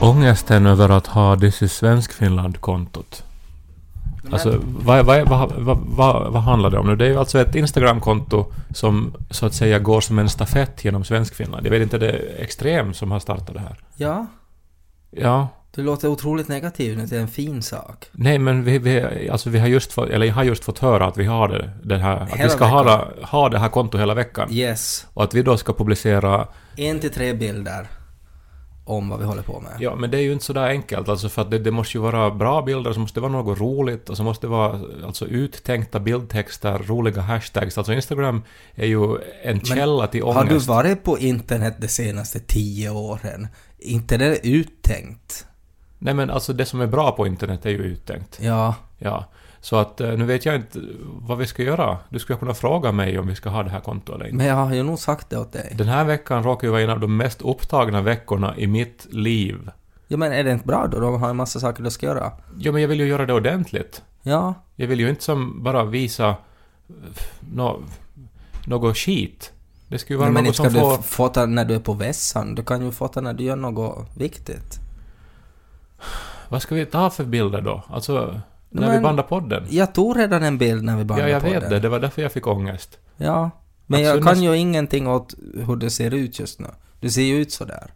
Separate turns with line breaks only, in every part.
Ångesten över att ha This is Svenskfinland-kontot. Alltså, vad, vad, vad, vad, vad, vad handlar det om nu? Det är ju alltså ett Instagram-konto som så att säga går som en stafett genom Svenskfinland. Jag vet inte, det är Extrem som har startat det här.
Ja,
Ja.
du låter otroligt negativ nu till en fin sak.
Nej, men vi, vi, alltså vi har just fått, eller jag har just fått höra att vi har det, det här, att
Hela
vi ska
veckan.
ha, ha det här kontot hela veckan.
Yes.
Och att vi då ska publicera
En till tre bilder om vad vi håller på med.
Ja, men det är ju inte sådär enkelt. Alltså för att det, det måste ju vara bra bilder, så måste det vara något roligt och så måste det vara alltså, uttänkta bildtexter, roliga hashtags. Alltså Instagram är ju en källa till
Har du
ångest.
varit på internet de senaste tio åren? Inte det är uttänkt.
Nej men alltså det som är bra på internet är ju uttänkt.
Ja.
Ja. Så att eh, nu vet jag inte vad vi ska göra. Du skulle kunna fråga mig om vi ska ha det här kontot eller inte.
Men jag har ju nog sagt det åt dig.
Den här veckan råkar ju vara en av de mest upptagna veckorna i mitt liv.
Ja men är det inte bra då? De har en massa saker de ska göra.
Ja men jag vill ju göra det ordentligt.
Ja.
Jag vill ju inte som bara visa eh, nå- något skit. Det skulle ju vara
Nej, men
något
inte ska
som
du
får...
f- fota när du är på vässan. Du kan ju fota när du gör något viktigt.
Vad ska vi ta för bilder då? Alltså, när
men-
vi bandar podden?
Jag tog redan en bild när vi bandade
Ja, jag
på
vet
den.
det. Det var därför jag fick ångest.
Ja. Men
Alltså,
jag
det
kan
måste-
ju ingenting åt hur du ser ut just nu. Du ser ju ut sådär.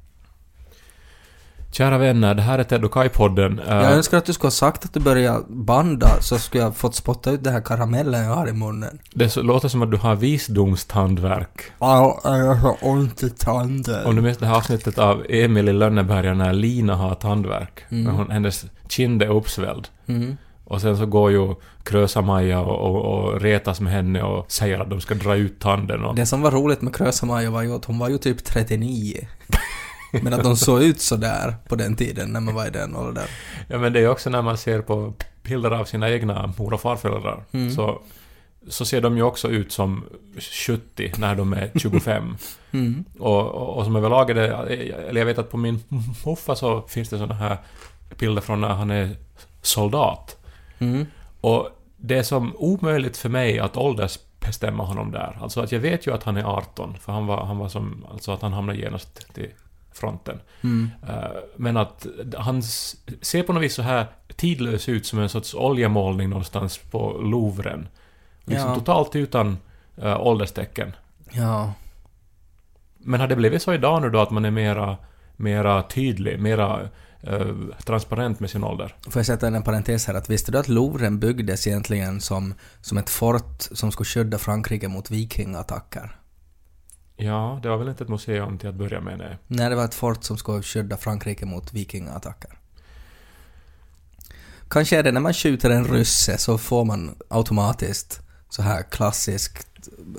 Kära vänner, det här är Ted och Kai-podden. Eh,
Jag önskar att du skulle ha sagt att du börjar banda så skulle jag fått spotta ut den här karamellen jag har i munnen.
Det så, låter som att du har visdomstandverk.
Au, au, jag har ont i
Om
tanden.
du minns det här avsnittet av Emil i Lönneberga när Lina har tandverk.
Mm.
När hon, hennes kind är uppsvälld.
Mm.
Och sen så går ju Krösa-Maja och, och, och retas med henne och säger att de ska dra ut tanden och...
Det som var roligt med Krösa-Maja var ju att hon var ju typ 39. Men att de såg ut sådär på den tiden när man var i den åldern.
Ja men det är också när man ser på bilder av sina egna mor och farföräldrar.
Mm.
Så, så ser de ju också ut som 70 när de är 25.
Mm.
och, och, och som överlag är det... Eller jag vet att på min moffa så finns det såna här bilder från när han är soldat.
Mm.
Och det är som omöjligt för mig att åldersbestämma honom där. Alltså att jag vet ju att han är 18, för han var, han var som... Alltså att han hamnade genast till fronten.
Mm.
Eh, Men att han s- ser på något vis så här tidlös ut som en sorts oljemålning någonstans på Louvren. Liksom
Ja.
totalt utan äh, ålderstecken.
Ja.
Men har det blivit så idag nu då att man är mera, mera tydlig, mera eh, transparent med sin ålder?
Får jag sätta en parentes här? Att visste du att Louvren byggdes egentligen som, som ett fort som skulle skydda Frankrike mot vikingattacker?
Ja, det var väl inte ett museum till att börja med, nej.
Nej, det var ett fort som skulle skydda Frankrike mot vikingattacker. Kanske är det när man skjuter en rysse så får man automatiskt så här klassiskt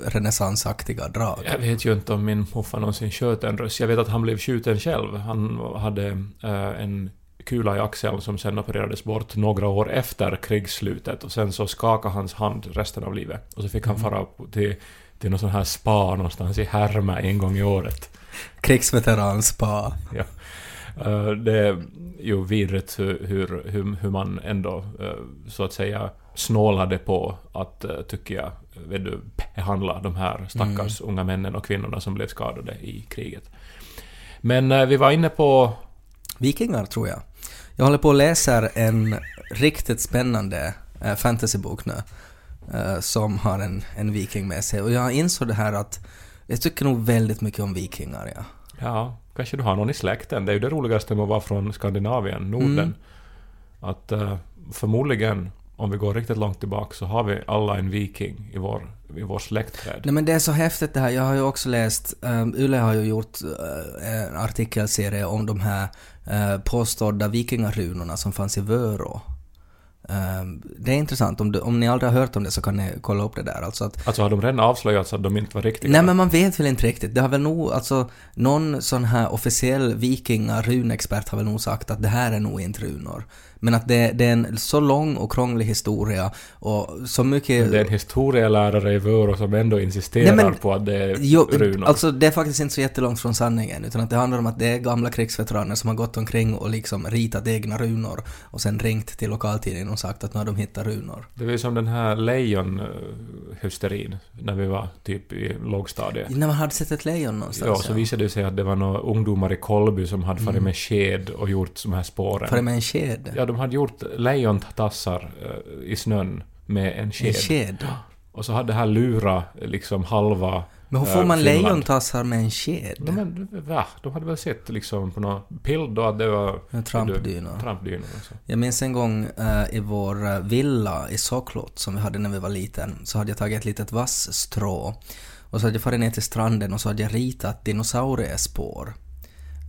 renässansaktiga drag.
Jag vet ju inte om min morfar någonsin sköt en ryss. Jag vet att han blev skjuten själv. Han hade eh, en kula i axeln som sen opererades bort några år efter krigsslutet. Och sen så skakade hans hand resten av livet. Och så fick han fara upp till, till någon sån här spa någonstans i Härma en gång i året.
Krigsveteranspa.
Ja. Eh, det är ju vidrigt hur, hur, hur, hur man ändå eh, så att säga snålade på att, eh, tycker jag, vet du, behandla de här stackars
Mm.
unga männen och kvinnorna som blev skadade i kriget. Men eh, vi var inne på...
Vikingar, tror jag. Jag håller på och läser en riktigt spännande eh, fantasybok nu eh, som har en, en viking med sig. Och jag insåg det här att jag tycker nog väldigt mycket om vikingar, ja.
Ja, kanske du har någon i släkten. Det är ju det roligaste med att vara från Skandinavien, Norden.
Mm.
Att eh, förmodligen, om vi går riktigt långt tillbaka, så har vi alla en viking i vår, i vår släktträd.
Nej men det är så häftigt det här. Jag har ju också läst, um, Yle har ju gjort eh, en artikelserie om de här eh, påstådda vikingarunorna som fanns i Vörå. Ehm, det är intressant, om, du, om ni aldrig har hört om det så kan ni kolla upp det där. Alltså att
Alltså har de redan avslöjat så att de inte var riktiga?
Nej men man vet väl inte riktigt. Det har väl nog, alltså någon sån här officiell vikingarunexpert har väl nog sagt att det här är nog inte runor. Men att det, det är en så lång och krånglig historia och så mycket...
Det är en historielärare i Vörå som ändå insisterar
Eh, Nej, men-
på att det är
Jo,
runor.
alltså det är faktiskt inte så jättelångt från sanningen utan att det handlar om att det är gamla krigsveteraner som har gått omkring och liksom ritat egna runor och sen ringt till lokaltidningen och och sagt att nu har de hittat runor.
Det var ju som den här lejonhysterin eh, när vi var typ i lågstadiet.
När man hade sett ett lejon någonstans.
Ja, så visade det sig att det var några ungdomar i Kolby som hade farit med sked och gjort de här spåren.
För det Mm. med en sked.
Ja, de hade gjort lejontassar eh, i snön med en sked.
en sked.
Och så hade det här lura liksom halva...
Men hur
eh,
får man
Finland.
lejontassar med en sked?
Ja, men va? De hade väl sett liksom på någon bild då att det var...
Med trampdynor.
Trampdynor och så.
Jag minns en gång eh, i vår eh, villa i Soklot som vi hade när vi var liten, så hade jag tagit ett litet vassstrå och så hade jag farit ner till stranden och så hade jag ritat dinosauriespår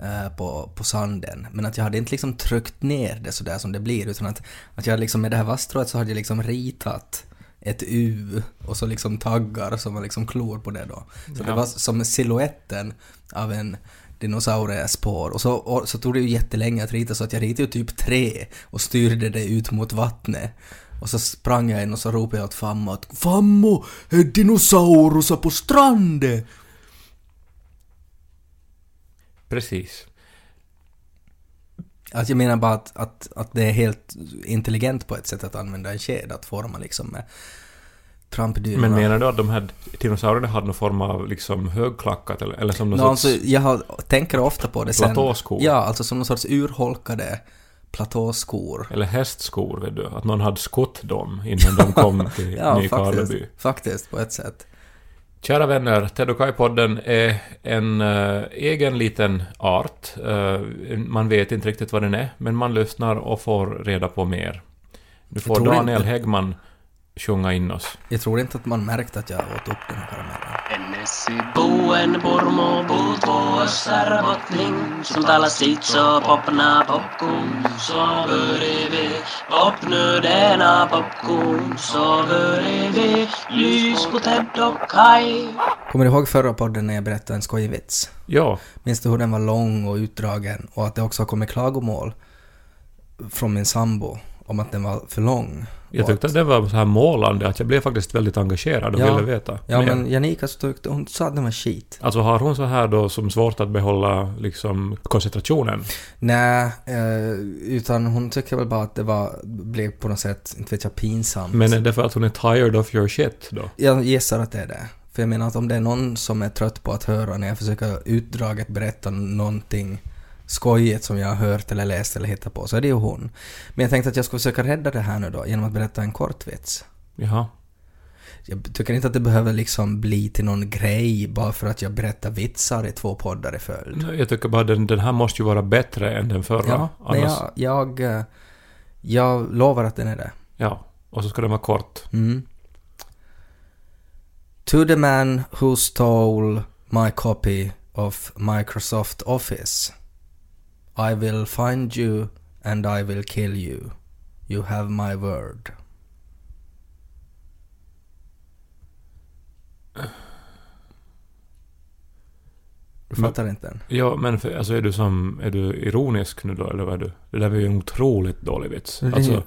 eh, på, på sanden. Men att jag hade inte liksom tryckt ner det sådär som det blir utan att, att jag liksom med det här vasstrået så hade jag liksom ritat ett U och så liksom taggar som var liksom klor på det då. Så det
Ja.
var som siluetten av en dinosauriespår. Och så, och så tog det ju jättelänge att rita så att jag ritade ju typ tre och styrde det ut mot vattnet. Och så sprang jag in och så ropade jag åt Fammo att Fammo! är Dinosaurusar på stranden!
Precis.
Att jag menar bara att, att, att det är helt intelligent på ett sätt att använda en sked, att forma liksom med trampdynorna.
Men menar du att de här dinosaurierna hade någon form av liksom högklackat eller, eller som någon
Nå,
sorts...
alltså, jag har, tänker ofta på det sen.
Platåskor.
Ja, alltså som någon sorts urholkade platåskor.
Eller hästskor, vet du. Att någon hade skott dem innan de kom till
Ja, faktiskt,
Nykarleby.
faktiskt på ett sätt.
Kära vänner, Tedokaj-podden är en eh, egen liten art. Eh, man vet inte riktigt vad den är, men man lyssnar och får reda på mer. Nu får
tror
Daniel
inte-
Häggman sjunga in oss.
Jag tror inte att man märkt att jag åt upp den här karamellen.
Enessi boen pormo puutvoa sarvotning. Sun talassit so popna popkum. So vörevi popnödena popkum. So vörevi lysku teddokai.
Kommer du ihåg förra podden när jag berättade en skojig vits?
Ja,
Minns du hur den var lång och utdragen och att det också har kommit klagomål från min sambo om att den var för lång?
jag
Och
tyckte att det var så här målande, att jag blev faktiskt väldigt engagerad och
Ja.
ville veta.
Ja,
mer.
men Janika så tyckte, hon sa att den var skit.
Alltså har hon så här då som svårt att behålla liksom koncentrationen?
Nej, eh, utan hon tycker väl bara att det var, blev på något sätt, inte vet jag, pinsamt.
Men är det för att hon är tired of your shit då?
Jag gissar att det är det. För jag menar att om det är någon som är trött på att höra när jag försöker utdraget berätta någonting skojigt som jag har hört eller läst eller hittat på, så är det ju hon. Men jag tänkte att jag skulle försöka rädda det här nu då genom att berätta en kort vits.
Jaha.
Jag tycker inte att det behöver liksom bli till någon grej bara för att jag berättar vitsar i två poddar i följd.
Nej, Jag tycker bara den, den här måste ju vara bättre än den förra.
Ja, men
Annars-
jag, jag, eh, jag lovar att den är det.
ja. Och så ska den vara kort.
Mm. To the man who stole my copy of Microsoft Office. I will find you and I will kill you. You have my word. Du
Men-
fattar inte den?
Ja, men för, alltså är du som... Är du ironisk nu då, eller vad är du? Det där var ju en otroligt dålig vits.
Det-
Alltså,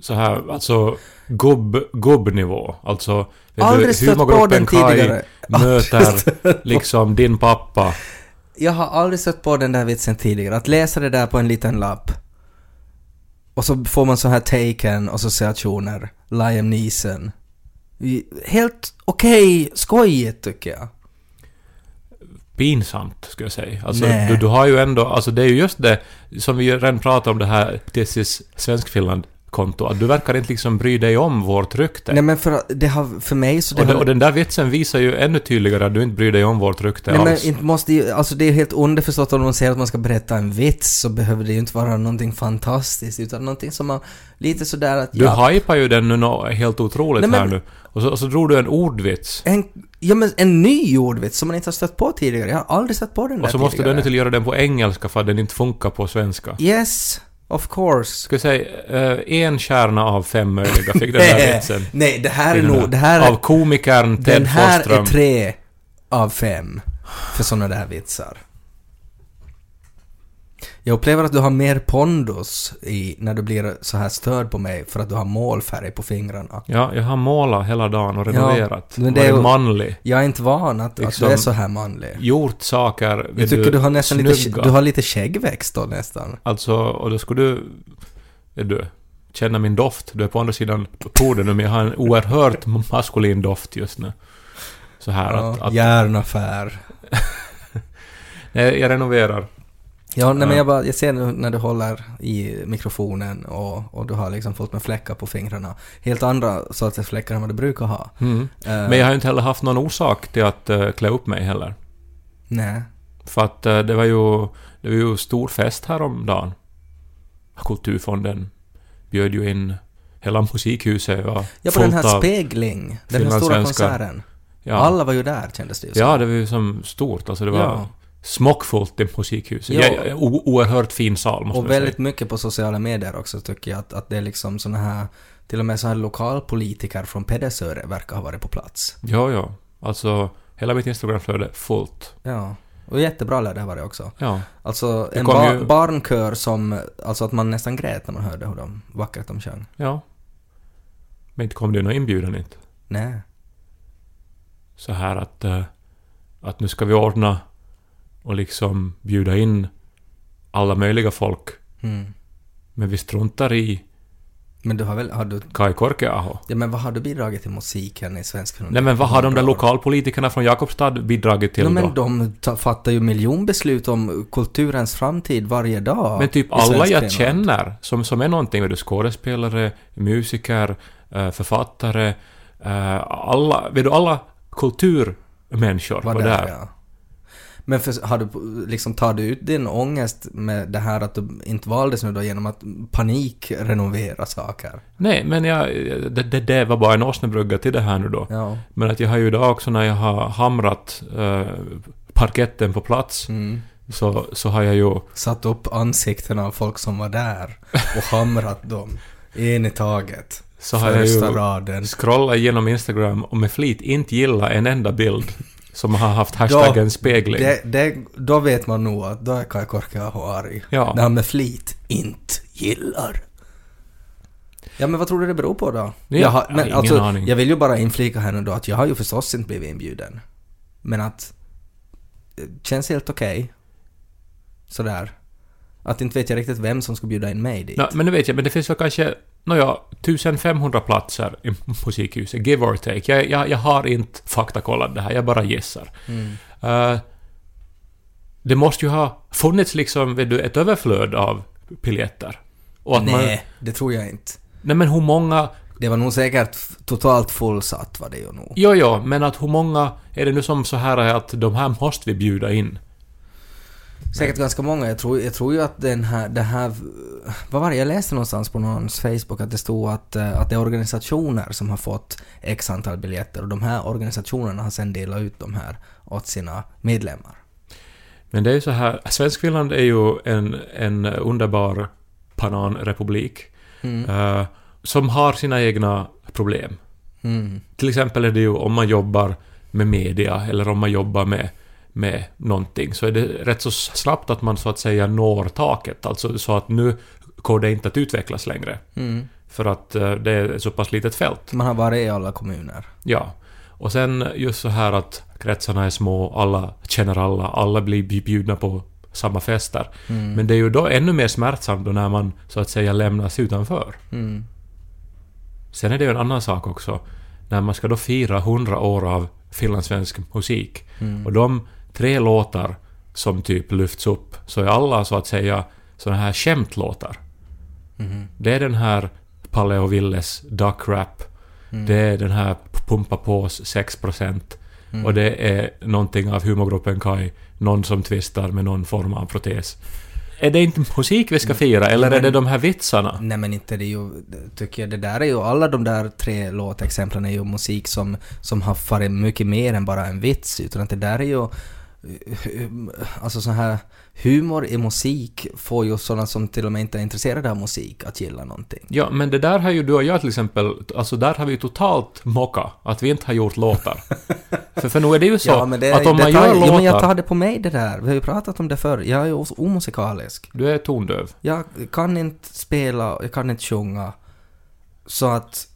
så här, alltså... Gubb, gubbnivå. Alltså... vet du,
Aldrig stött på
humorgruppen
den
Kai
tidigare.
möter liksom din pappa.
Jag har aldrig stött på den där vitsen tidigare. Att läsa det där på en liten lapp och så får man så här taken och så situationer. Liam Neeson. I- Helt okej skojigt tycker jag.
pinsamt, skulle jag säga. Alltså,
Nej.
du, du har ju ändå... Alltså det är ju just det som vi ju redan pratade om det här TC's Svenskfinland-konto. Att du verkar inte liksom bry dig om vårt rykte.
Nej men för, att- det har, för mig så... Det
och,
har,
den, och den där vitsen visar ju ännu tydligare att du inte bryr dig om vårt rykte
nej men
alls.
inte måste ju, alltså det är helt underförstått om man säger att man ska berätta en vits så behöver det ju inte vara någonting fantastiskt utan någonting som man lite sådär att...
Du
ja,
hypar ju den nu nå- helt otroligt
Nej, men-
här nu. Och så, och så drog du en ordvits.
en, ja men en ny ordvits som man inte har stött på tidigare. Jag har aldrig stött på den där
Och så måste du
tidigare.
ännu till göra den på engelska för att den inte funkar på svenska.
Yes, of course.
Ska jag säga, eh, en kärna av fem möjliga fick den där vitsen.
Nej, det här är
Den där.
nog... Det här är,
Av komikern
den
Ted
här är
Forsström.
tre av fem för sådana där vitsar. Jag upplever att du har mer pondus i när du blir så här störd på mig för att du har målfärg på fingrarna.
Ja, jag har målat hela dagen och renoverat.
men det
Varit
är ju-
manlig.
Jag är inte van att, att
Liksom-
du är så här manlig.
Gjort saker...
Jag
vet
tycker du har nästan lite,
snygga.
du har lite skäggväxt då nästan.
Alltså, och då skulle du... Är du... känna min doft. Du är på andra sidan poolen nu, men jag har en oerhört maskulin doft just nu. Så här att...
Ja,
att
järnaffär.
nej, jag renoverar.
Ja, nej,
Ja.
men jag, bara, jag ser nu när du håller i mikrofonen och, och du har liksom fått med fläckar på fingrarna. Helt andra sorters fläckar än vad du brukar ha.
Mm.
Eh,
Men jag har ju inte heller haft någon orsak till att eh, klä upp mig heller.
Nej.
För att eh, det var ju... Det var ju stor fest häromdagen. Kulturfonden bjöd ju in hela musikhuset och
Ja, på den
fullt
här
av-
Spegling, den här stora
finlandssvenskar.
konserten.
ja.
Alla var ju där kändes det ju som.
Ja, det var ju som stort. Alltså det var
Ja.
smockfullt i musikhuset.
Ja.
Ja. o- oerhört fin sal, måste
Och
man
väldigt
säga.
mycket på sociala medier också tycker jag att, att det är liksom såna här, till och med såna här lokalpolitiker från Pedersöre verkar ha varit på plats.
Ja, ja. Alltså, hela mitt Instagramflöde fullt.
Ja. Och jättebra lär det ha varit också.
Ja.
Alltså
Det
en
kom
ba-
ju-
barnkör som, alltså att man nästan grät när man hörde hur de, vackert de sjöng.
Ja. Men inte kom det någon inbjudan inte.
Nej.
Så här att... eh, Att nu ska vi ordna och liksom bjuda in alla möjliga folk.
Mm.
Men vi struntar i
Men du har väl, har du,
Kai Korkeaho.
ja men vad har du bidragit till musiken i svensk
Nej men vad har de där lokalpolitikerna från Jakobstad bidragit till
Ja,
då?
men de ta- fattar ju miljonbeslut om kulturens framtid varje dag.
Men typ
i
alla
svensk
jag
film.
känner som, som är någonting, vet du, skådespelare, musiker, eh, författare, eh, alla, vet du, alla kulturmänniskor var,
Vad det
där.
är, ja. Men för, har du, liksom, tar du ut din ångest med det här att du inte valdes nu då genom att panikrenovera saker?
Nej, men jag, det, det, det var bara en åsnebrygga till det här nu då.
Ja.
Men att jag har ju idag också när jag har hamrat eh, parketten på plats,
Mm.
så, så har jag ju...
Satt upp ansikten av folk som var där och hamrat dem. En i taget.
Så har jag ju
Första raden.
scrollat igenom Instagram och med flit inte gilla en enda bild som har haft hashtaggen spegling.
Det, det, då vet man nog att då är Kaj Korkeaho arg.
Ja.
När han med flit inte gillar. Ja men vad tror du det beror på då?
Nej,
har,
jag har
men,
ingen
alltså,
aning.
Jag vill ju bara inflika här nu då att jag har ju förstås inte blivit inbjuden. Men att... Det känns helt okej. Sådär. Att inte vet jag riktigt vem som ska bjuda in mig dit.
Nå, men det vet jag, men det finns väl kanske nåja, 1500 platser i musikhuset, give or take. Jag, jag, jag har inte faktakollat det här, jag bara gissar. Eh, det måste ju ha funnits liksom, vet du, ett överflöd av biljetter. Och att man,
Nej, det tror jag inte.
nej men hur många...
Det var nog säkert f- totalt fullsatt var det ju nog.
Jo, jo, men att hur många är det nu som så här är att de här måste vi bjuda in?
Säkert ganska många. Jag tror, jag tror ju att den här, det här... Vad var det? Jag läste någonstans på någons Facebook att det stod att, eh, att det är organisationer som har fått x antal biljetter och de här organisationerna har sen delat ut de här åt sina medlemmar.
Men det är ju så här, Svenskfinland är ju en, en underbar bananrepublik. eh, som har sina egna problem.
Mm.
Till exempel är det ju om man jobbar med media eller om man jobbar med, med någonting så är det rätt så snabbt att man så att säga når taket. Alltså så att nu går det inte att utvecklas längre.
Mm.
För att eh, det är ett så pass litet fält.
Man har varit i alla kommuner.
Ja. Och sen just så här att kretsarna är små, alla känner alla, alla blir bjudna på samma fester. Men det är ju då ännu mer smärtsamt då när man så att säga lämnas utanför.
Mm.
Sen är det ju en annan sak också. När man ska då fira 100 år av finlandssvensk musik. Och de tre låtar som typ lyfts upp så är alla så att säga såna här skämtlåtar. Det är den här Palle och Villes Duck Rap. Det är den här Pumpa pås 6% och det är någonting av humorgruppen Kai. Någon som tvistar med någon form av protes. Är det inte musik vi ska fira eller är det de här vitsarna?
Nej men inte det är ju, det tycker jag, det där är ju, alla de där tre låtexemplen är ju musik som, som har farit mycket mer än bara en vits, utan att det där är ju, alltså så här, humor i musik får ju sådana som till och med inte är intresserade av musik att gilla någonting.
Ja, men det där har ju du och jag till exempel, alltså där har vi ju totalt mocka att vi inte har gjort låtar. för, för nog är det ju så att om man
det tar,
gör
ja, men jag
låtar...
tar det på mig det där, vi har ju pratat om det förr, jag är ju os- omusikalisk.
Du är tondöv.
Jag kan inte spela, jag kan inte sjunga, så att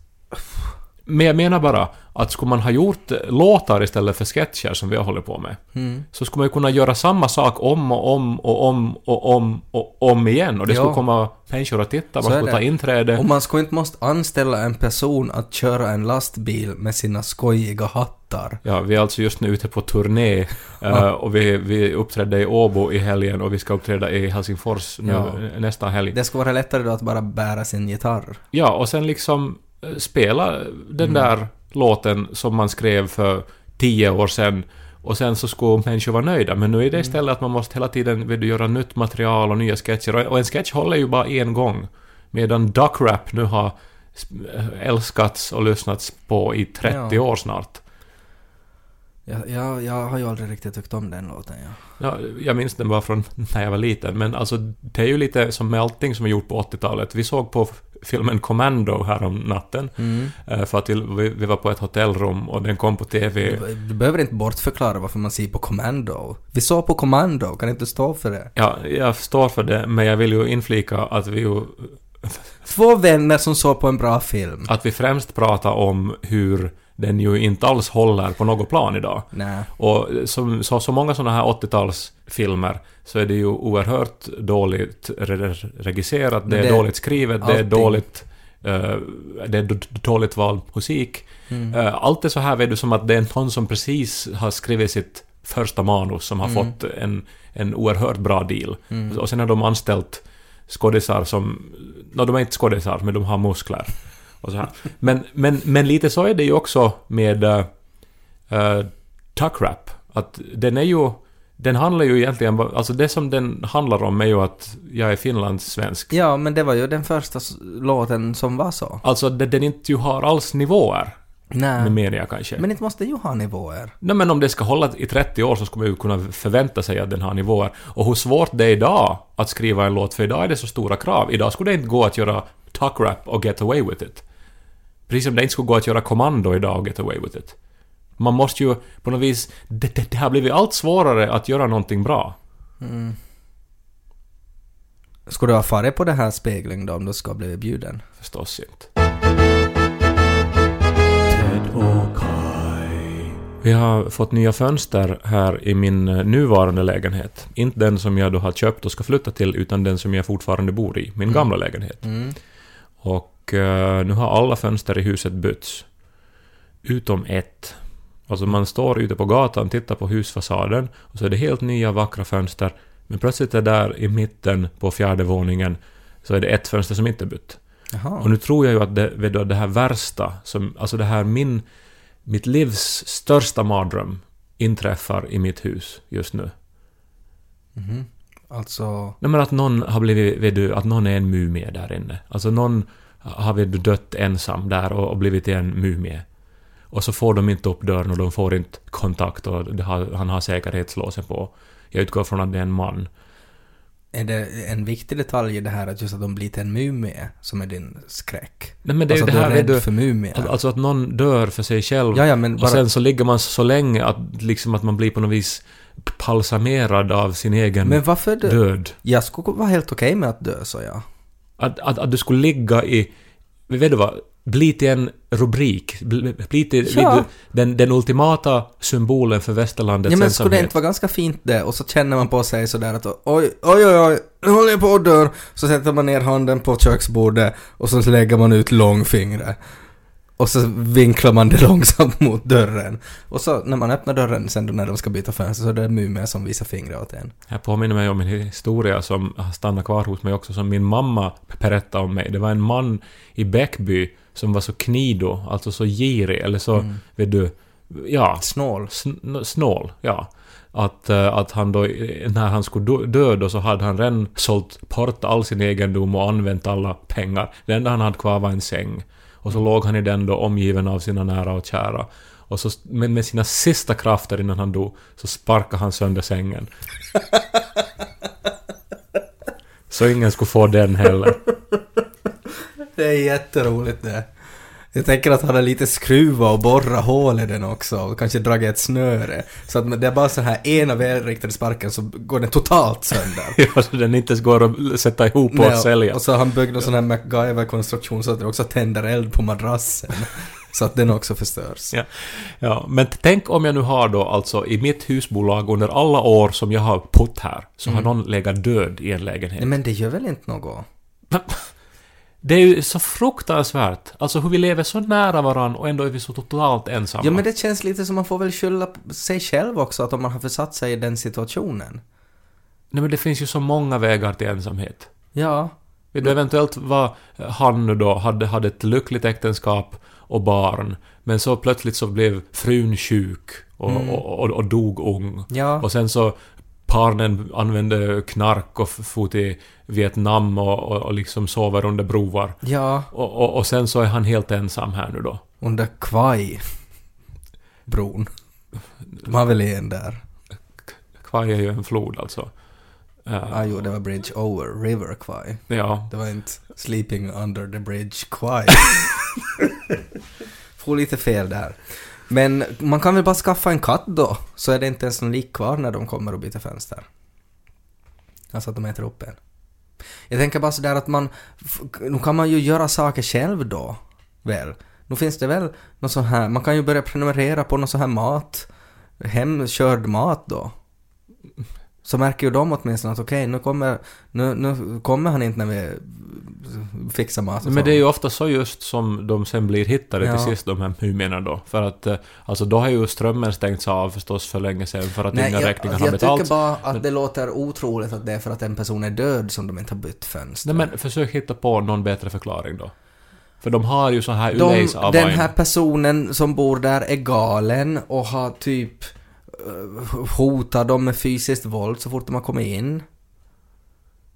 Men jag menar bara att skulle man ha gjort låtar istället för sketcher som vi har hållit på med,
Mm.
så skulle man ju kunna göra samma sak om och om och om och om och om igen. Och det
Ja.
skulle komma människor att titta,
Så
man
är
skulle
det.
ta inträde.
Och man skulle inte måste anställa en person att köra en lastbil med sina skojiga hattar.
Ja, vi är alltså just nu ute på turné eh, och vi, vi uppträdde i Åbo i helgen och vi ska uppträda i Helsingfors nu,
Ja.
nästa helg.
Det skulle vara lättare då att bara bära sin gitarr.
Ja, och sen liksom eh, spela den där låten som man skrev för tio år sedan och sen så skulle människor vara nöjda. Men nu är det istället att man måste hela tiden vill du göra nytt material och nya sketcher. Och- Och en sketch håller ju bara en gång. Medan duckrap nu har eh, älskats och lyssnats på i 30
Ja.
år snart.
Jag, jag, jag har ju aldrig riktigt tyckt om den låten. Ja.
Ja, jag minns den bara från när jag var liten, men alltså det är ju lite som med allting som är gjort på 80-talet. Vi såg på f- filmen Commando härom natten,
Mm.
eh, för att vi, vi- vi var på ett hotellrum och den kom på TV.
Du, du behöver inte bortförklara varför man ser på Commando. Vi sa på Commando, kan inte stå för det?
Ja, jag står för det, men jag vill ju inflika att vi, ju,
Två vänner som såg på en bra film.
att vi främst pratar om hur den ju inte alls håller på något plan idag.
Nej.
Och som, så, så många såna här 80-talsfilmer så är det ju oerhört dåligt re- regisserat, det är
Det-
dåligt skrivet, det är
allting.
dåligt... eh, det är d- d- dåligt vald musik.
Mm.
Eh, allt är så här, vet du, som att det är någon som precis har skrivit sitt första manus som har
Mm.
fått en, en oerhört bra deal. Och sen har de anställt skådisar som... No, de är inte skådisar, men de har muskler. Och så här. Men, men, men lite så är det ju också med... eh, uh, Tuckrap. Att den är ju... Den handlar ju egentligen bara- Alltså det som den handlar om är ju att jag är finlandssvensk.
Ja, men det var ju den första s- låten som var så.
Alltså det, den inte ju har alls nivåer,
Nej.
menar jag kanske.
Men inte måste det ju ha nivåer.
Nej, men om det ska hålla i 30 år så skulle man ju kunna förvänta sig att den har nivåer. Och hur svårt det är idag att skriva en låt, för idag är det så stora krav. Idag skulle det inte gå att göra tuckrap och get away with it. Precis som det inte skulle gå att göra kommando idag och get away with it. Man måste ju på något vis... Det, det, det har blivit allt svårare att göra någonting bra.
Skulle du ha farit på det här spegling då om du ska bli bjuden?
Förstås inte. Vi har fått nya fönster här i min eh, nuvarande lägenhet. Inte den som jag då har köpt och ska flytta till, utan den som jag fortfarande bor i, min gamla lägenhet. Och eh, nu har alla fönster i huset bytts. Utom ett. Alltså man står ute på gatan, tittar på husfasaden och så är det helt nya vackra fönster. Men plötsligt är där i mitten på fjärde våningen så är det ett fönster som inte är bytt.
Jaha.
Och nu tror jag ju att det, vet du, att det här värsta, som, alltså det här min, mitt livs största mardröm inträffar i mitt hus just nu.
Alltså...
Nej men att någon har blivit, vet du, att någon är en mumie där inne. Alltså någon har vet du, dött ensam där och, och blivit en mumie. Och så får de inte upp dörren och de får inte kontakt och det har, han har säkerhetslåsen på. Jag utgår från att det är en man.
Är det en viktig detalj i det här att just att de blir till en mumie som är din skräck?
Nej men det är ju
alltså
det här,
att du
vet
är
du,
rädd för mumier?
Att- Alltså att någon dör för sig själv.
Ja, ja, men bara-
Och sen så ligger man så länge att, liksom att man blir på något vis palsamerad av sin egen
Men varför dö?
död.
Jag skulle vara helt okej med att dö, så jag.
Att, att, att du skulle ligga i... Vet du vad? Bli till en rubrik. Bli bli till
Ja.
vid- den, den ultimata symbolen för västerlandets
Ja, men skulle det
ensamhet.
inte vara ganska fint det? Och så känner man på sig sådär att oj, oj, oj, oj, nu håller jag på att dör. Så sätter man ner handen på köksbordet och så lägger man ut långfingret. Och så vinklar man det långsamt mot dörren. Och så när man öppnar dörren sen då när de ska byta fönster så är det en mumie som visar fingret åt en.
Det här påminner mig om en historia som har stannat kvar hos mig också, som min mamma berättade om mig. Det var en man i Bäckby som var så knido, alltså så girig, eller så,
Mm.
vet du, ja,
Snål.
sn- snål, ja. Att, eh, att han då, eh, när han skulle dö- dö då så hade han redan sålt bort all sin egendom och använt alla pengar. Det enda han hade kvar var en säng. Och så låg han i den då omgiven av sina nära och kära. Och så, men med sina sista krafter innan han dog så sparkade han sönder sängen. Så ingen skulle få den heller.
Det är jätteroligt det. Jag tänker att han har lite skruva och borra hål i den också och kanske dragit ett snöre. Så att det är bara så här ena välriktade sparken så går den totalt sönder.
Ja, så den inte ens går att sätta ihop och
Nej,
sälja.
och så har han byggt en sån här MacGyver-konstruktion så att det också tänder eld på madrassen. Så att den också förstörs.
Ja. Ja, men t- tänk om jag nu har då alltså i mitt husbolag under alla år som jag har pott här, så
Mm.
har någon legat död i en lägenhet.
Nej men det gör väl inte något?
Det är ju så fruktansvärt. Alltså hur vi lever så nära varandra och ändå är vi så totalt ensamma.
Ja men det känns lite som man får väl skylla på sig själv också att om man har försatt sig i den situationen.
Nej men det finns ju så många vägar till ensamhet.
Ja.
Vet du,
Mm.
eventuellt var han nu då, hade, hade ett lyckligt äktenskap och barn, men så plötsligt så blev frun sjuk och,
Mm.
och, och, och dog ung.
Ja.
Och sen så Parnen använde knark och f- for till Vietnam och, och, och liksom sover under broar.
Ja.
Och, och, och sen så är han helt ensam här nu då.
Under Kvaj. Bron. De har väl en där?
Kvaj är ju en flod alltså. Eh,
Ah, jo, det var Bridge Over River Kvaj.
ja.
Det var inte Sleeping Under the Bridge Kvaj. Får lite fel där. Men man kan väl bara skaffa en katt då, så är det inte ens någon lik kvar när de kommer och byter fönster. Alltså att de äter upp en. Jag tänker bara sådär att man, f- nu kan man ju göra saker själv då, väl? Nu finns det väl något sån här, man kan ju börja prenumerera på någon sån här mat, hemkörd mat då. Så märker ju de åtminstone att okej, nu, kommer, nu, nu kommer han inte när vi fixar mat. och
Men
så.
det är ju ofta så just som de sen blir hittade
Ja.
till sist, de här mumierna då. För att eh, alltså då har ju strömmen stängts av förstås för länge sedan för att inga räkningar har
jag tycker
betalats.
bara att det låter otroligt att det är för att en person är död som de inte har bytt fönster.
Nej men försök hitta på någon bättre förklaring då. För de har ju så här
de,
Uleis av
den
en.
här personen som bor där är galen och har typ eh, hotat dem med fysiskt våld så fort de har kommit in.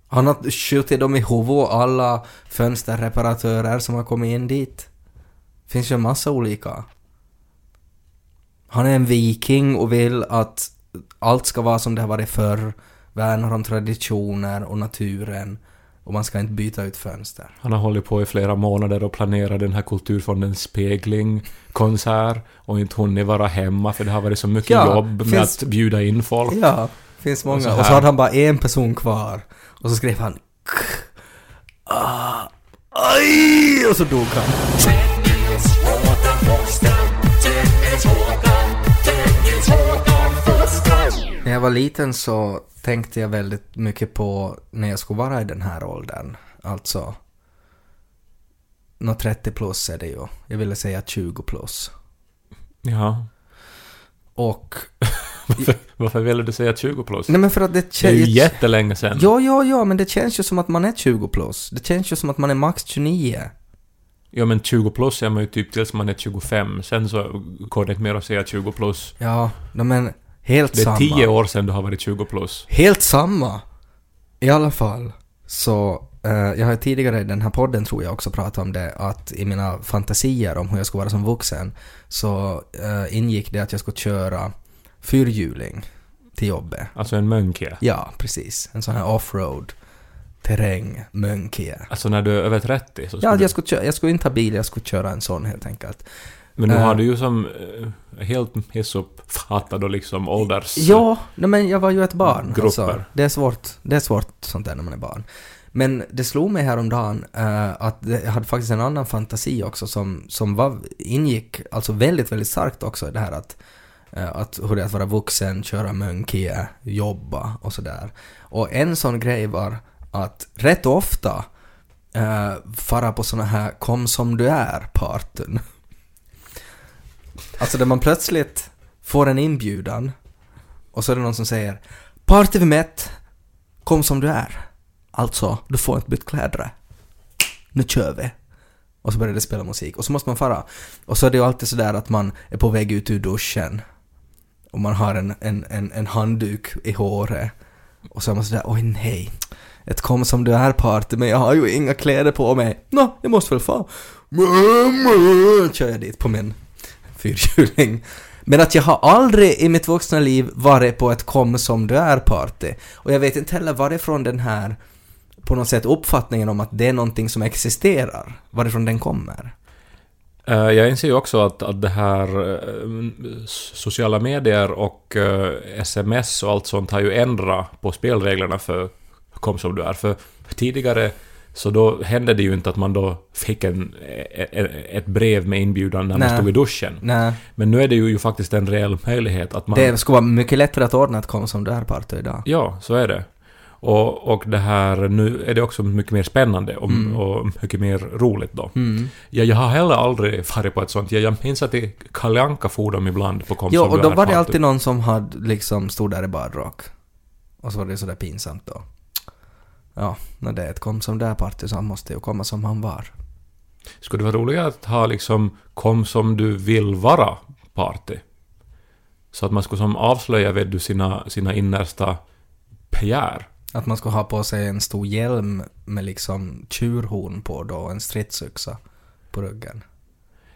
Han har skjutit dem i huvudet, alla fönsterreparatörer som har kommit in dit. finns ju en massa olika. Han är en viking och vill att allt ska vara som det har varit förr. Värnar om traditioner och naturen. Och man ska inte byta ut fönster.
Han har hållit på i flera månader och planerat den här kulturfondens spegling, konsert och inte hunnit vara hemma för det har varit så mycket
Ja,
jobb med
finns-
att bjuda in folk.
Ja, finns många. Och
så
så,
här.
hade han bara en person kvar. Och så skrev han "K, ah, Aj! Och så dog han. När jag var liten så tänkte jag väldigt mycket på när jag skulle vara i den här åldern. Alltså, nå 30 plus är det ju. Jag ville säga 20 plus.
Ja.
Och...
Varför, varför ville du säga 20 plus?
Nej men för att det
det är ju
kän-
jättelänge sedan.
Ja, ja, ja, men det känns ju som att man är 20 plus. Det känns ju som att man är max 29.
Ja men 20 plus är man ju typ tills man är 25, sen så går det inte mer att säga 20 plus.
Ja, no, men helt
Det är
samma.
10 år sedan du har varit 20 plus.
Helt samma! I alla fall så, eh, jag har tidigare i den här podden tror jag också pratat om det, att i mina fantasier om hur jag skulle vara som vuxen så eh, ingick det att jag skulle köra fyrhjuling till jobbet.
Alltså en mönke.
Ja, precis. En sån här offroad terräng mönkie.
Alltså när du är över 30 så ska
Ja,
du...
jag skulle, kö- jag skulle inte ha bil, jag skulle köra en sån helt enkelt.
Men nu
eh.
har du ju som eh, helt hissuppfattad och liksom ålders...
Ja, nej, men jag var ju ett barn.
Grupper.
Alltså, det, är svårt, det är svårt sånt där när man är barn. Men det slog mig häromdagen eh, att det- jag hade faktiskt en annan fantasi också som, som var, ingick alltså väldigt, väldigt starkt också i det här att, eh, att hur det är att vara vuxen, köra mönkie, jobba och sådär. Och en sån grej var att rätt ofta eh, fara på såna här kom som du är-parten. Alltså där man plötsligt får en inbjudan och så är det någon som säger Party vi mätt, kom som du är. Alltså, du får inte bytt kläder. Nu kör vi. Och så börjar det spela musik och så måste man fara. Och så är det ju alltid sådär att man är på väg ut ur duschen och man har en, en, en, en handduk i håret. Och så är man sådär, oj nej, ett kom som du är party men jag har ju inga kläder på mig. Nå, jag måste väl få. Mamma! Kör jag dit på min fyrhjuling. Men att jag har aldrig i mitt vuxna liv varit på ett kom som du är-party. Och jag vet inte heller varifrån den här, på något sätt, uppfattningen om att det är någonting som existerar, varifrån den kommer.
Eh, Jag inser ju också att, att det här eh, m- s- sociala medier och eh, sms och allt sånt har ju ändrat på spelreglerna för Kom som du är. För tidigare Så då hände det ju inte att man då fick en, e- e- ett brev med inbjudan när man
Nej.
stod i duschen.
Nej.
Men nu är det ju ju faktiskt en reell möjlighet att man...
Det skulle vara mycket lättare att ordna ett kom som där party idag.
Ja, så är det. Och, och det här, nu är det också mycket mer spännande och,
Mm.
och mycket mer roligt då.
Mm.
Ja, jag har heller aldrig farit på ett sånt. Jag, jag minns att i Kalle Anka for de ibland på Kom
Jo,
som
och
du typ.
då
är
var det
party.
alltid någon som hade liksom stod där i badrock. Och så var det sådär pinsamt då. Ja, när det är ett kom som där party så han måste ju komma som han var.
Skulle det vara roligare att ha liksom Kom som du vill vara party? Så att man skulle som avslöja vet du sina, sina innersta begär.
Att man ska ha på sig en stor hjälm med liksom tjurhorn på då och en stridsyxa på ryggen.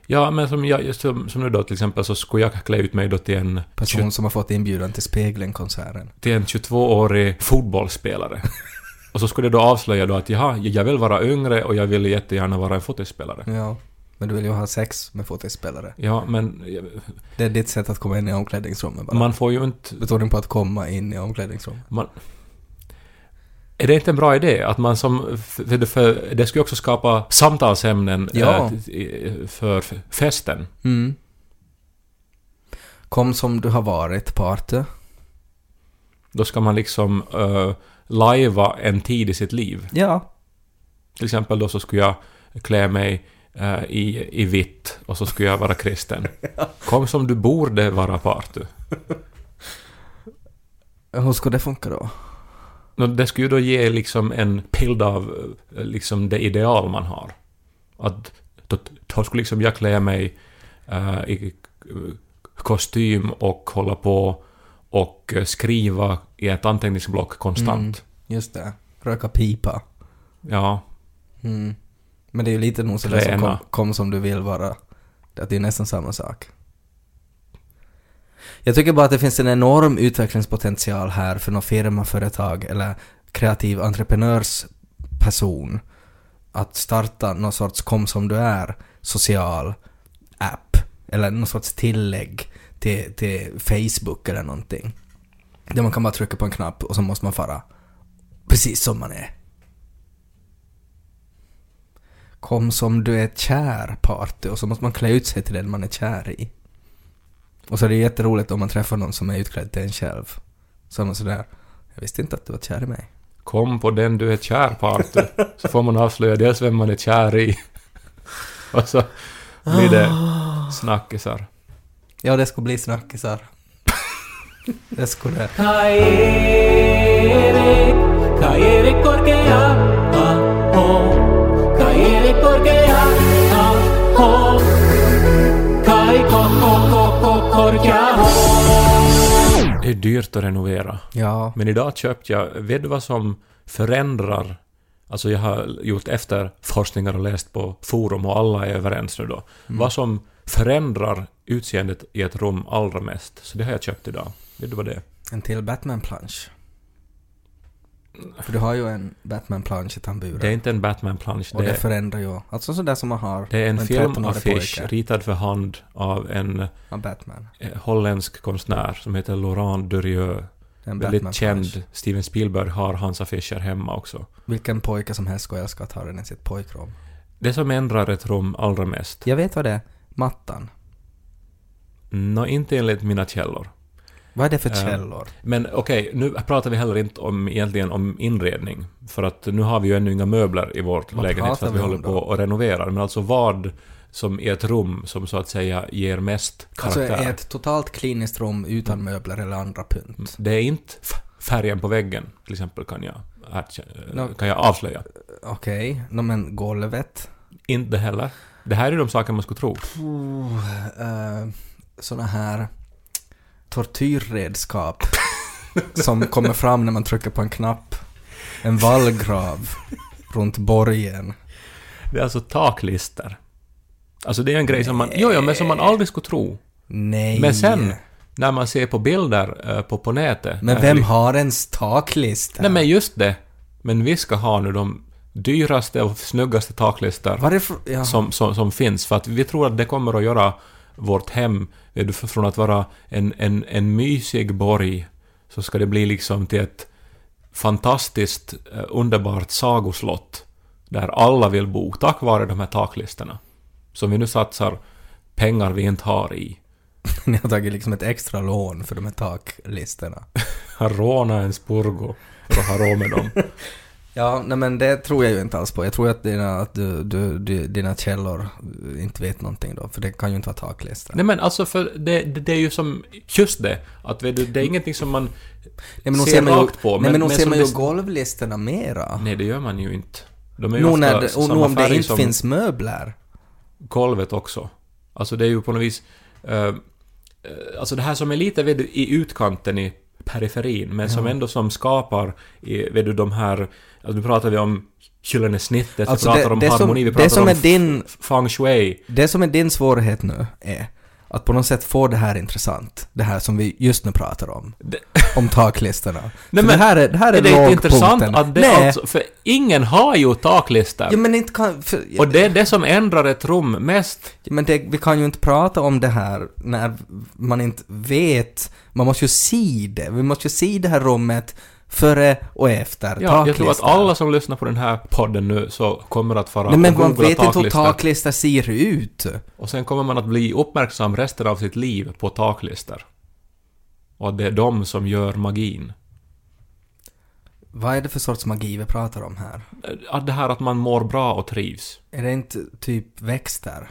Ja, men som, jag, just som, som nu då till exempel så skulle jag klä ut mig då till en,
Person som har fått inbjudan till Speglen-konserten.
till en 22-årig fotbollsspelare. och så skulle det då avslöja då att jaha, jag vill vara yngre och jag vill jättegärna vara en fotbollsspelare.
Ja. Men du vill ju ha sex med fotispelare.
Ja, men eh,
Det är ditt sätt att komma in i omklädningsrummet bara.
man får ju inte
Betoning på att komma in i omklädningsrummet.
Man, är det inte en bra idé att man som... För, det- för, det skulle också skapa samtalsämnen
Ja.
eh, t- eh, för f- festen.
Mm. Kom som du har varit, party.
Då ska man liksom uh, lajva en tid i sitt liv.
Ja.
Till exempel då så skulle jag klä mig eh, i, i vitt och så skulle jag vara kristen. Kom som du borde vara party.
Hur ska det funka då?
Nå, Det skulle ju då ge liksom en bild av eh, liksom det ideal man har. Att då, då skulle liksom jag klä mig eh, i eh, kostym och hålla på och eh, skriva i ett anteckningsblock konstant.
Just det. Röka pipa.
Ja,
Mm. Men det är ju lite nog sådär som kom,
Träna.
kom som du vill vara. Att det är nästan samma sak. Jag tycker bara att det finns en enorm utvecklingspotential här för någon firma, företag eller kreativ entreprenörsperson att starta någon sorts kom som du är social app eller någon sorts tillägg till, till Facebook eller någonting. Där man kan bara trycka på en knapp och så måste man fara precis som man är. Kom som du är kär party och så måste man klä ut sig till den man är kär i. Och så är det jätteroligt om man träffar någon som är utklädd till en själv. Så är man sådär, jag visste inte att du var kär i mig.
kom på den du är kär party. Så får man avslöja dels vem man är kär i. Och så blir det
Ah.
snackisar.
Ja, det skulle bli snackisar. det skulle...
Caeré, caeré porque ah, ah, oh, caeré porque ah, ah, oh, cae co, co, co, co, porque ah, oh.
Det är dyrt att renovera.
Ja.
Men idag köpte jag, vet du vad som förändrar? Alltså jag har gjort efterforskningar och läst på forum och alla är överens nu då.
Mm.
Vad som förändrar utseendet i ett rum allra mest. Så det har jag köpt idag. Vet du vad det är?
En till Batman-plansch. För du har ju en Batman-plansch i tamburen.
Det är inte en Batman-plansch.
och det,
Det, är-
förändrar ju. Alltså sådär som man har.
det är en
med
filmaffisch
13-årig pojke
ritad för hand av en
Av Batman.
eh, holländsk konstnär som heter Laurent Durieux.
Det är En
Väldigt
Batman-plansch.
känd. Steven Spielberg har hans affischer hemma också.
Vilken pojke som helst skulle älska att ha den i sitt pojkrum.
Det som ändrar ett rum allra mest
Jag vet vad det är. Mattan.
Nå, inte enligt mina källor.
Vad är det för
Eh,
källor?
Men okej, nu pratar vi heller inte om, egentligen om inredning. För att nu har vi ju ännu inga möbler i vår
Vad
lägenhet för
pratar
att
vi
vi
om
håller
då?
på och renoverar. Men alltså vad som i ett rum som så att säga ger mest
Alltså
karaktär. Mm.
ett totalt kliniskt rum utan möbler eller andra pynt.
Det är inte f- färgen på väggen till exempel kan jag, erkä-
Nå.
kan jag avslöja.
Okej, nå men golvet.
Inte heller. Det här är de saker man skulle tro.
Uh, såna här tortyrredskap som kommer fram när man trycker på en knapp. En vallgrav runt borgen.
Det är alltså taklister. Alltså det är en grej som man, jo, ja, men som man aldrig skulle tro.
Nej.
Men sen, när man ser på bilder eh, på, på nätet.
Men
när
vem har ens taklista?
Nej men just det. Men vi ska ha nu de dyraste och snyggaste taklistor
Varifrån? Ja.
som, som, som finns. För att vi tror att det kommer att göra vårt hem, vet du, från att vara en, en, en mysig borg, så ska det bli liksom till ett fantastiskt, eh, underbart sagoslott. där alla vill bo tack vare de här taklistorna. Som vi nu satsar pengar vi inte har i.
Ni har tagit liksom ett extra lån för de här taklistorna.
Råna en spurgo för att ha råd med dem.
Ja, nej men det tror jag ju inte alls på. Jag tror att dina, att du, du, du, dina källor inte vet någonting då, för det kan ju inte vara taklistor.
Nej men alltså för det, det, det är ju som, just det, att vet du, det är ingenting som man
Nej men nog
ser
ser man ju,
rakt på,
nej, men nog ser
som
man ju
det-
golvlistorna mera.
Nej det gör man ju inte. De är ju
Nog
ofta
när det- och nog
samma
om det
färg
inte
som
finns möbler.
golvet också. Alltså det är ju på något vis... eh, eh, alltså det här som är lite vet du, i utkanten i periferin, men som ändå som skapar i, vet du, de här... Alltså nu pratar vi om Gyllene snittet,
Alltså
vi pratar
det-
om
det som-
harmoni, vi
det
pratar
som
om
är din-
f- feng shui.
Det som är din svårighet nu är att på något sätt få det här intressant. Det här som vi just nu pratar om.
Det-
Om taklistorna.
Nej,
För
men
det här är, det här är,
Är det inte
lågpunkten.
intressant att det
Nej,
alltså... För ingen har ju taklistor.
ja, men inte kan... För,
och det är det som ändrar ett rum mest.
Ja, Men det, vi kan ju inte prata om det här när man inte vet. Man måste ju se det. Vi måste ju se det här rummet före och efter.
Ja, jag tror att
taklistan.
alla som lyssnar på den här podden nu så kommer att fara
Nej, men
och
man
googla
vet inte hur
taklistor.
taklistan ser ut.
Och sen kommer man att bli uppmärksam resten av sitt liv på taklistor. Och att det är de som gör magin.
Vad är det för sorts magi vi pratar om här?
Att det här att man mår bra och trivs.
Är det inte typ växter?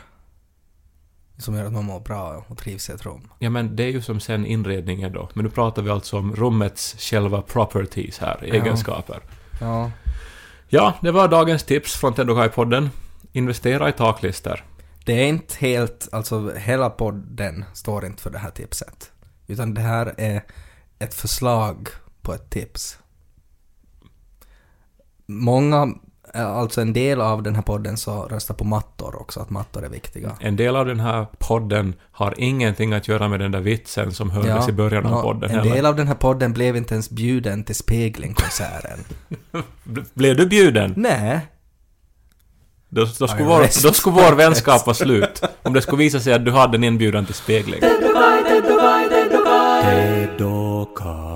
Som gör att man mår bra och trivs i ett rum.
Ja men det är ju som sen inredningen då. Men nu pratar vi alltså om rummets själva properties här, egenskaper.
Ja.
Ja, det var dagens tips från Tendokai-podden. Investera i taklistor.
Det är inte helt, alltså hela podden står inte för det här tipset. Utan det här är ett förslag på ett tips. Många, eh, alltså en del av den här podden så röstar på mattor också, att mattor är viktiga.
En del av den här podden har ingenting att göra med den där vitsen som hördes i början av
nå,
podden
En
heller.
del av den här podden blev inte ens bjuden till speglingkonserten.
Bl- Blev du bjuden?
Nej,
Då, då, skulle
I
vår,
rest
då skulle vår vänskap vara slut. Om det skulle visa sig att du hade en inbjudan till spegling.
Ted Dokai.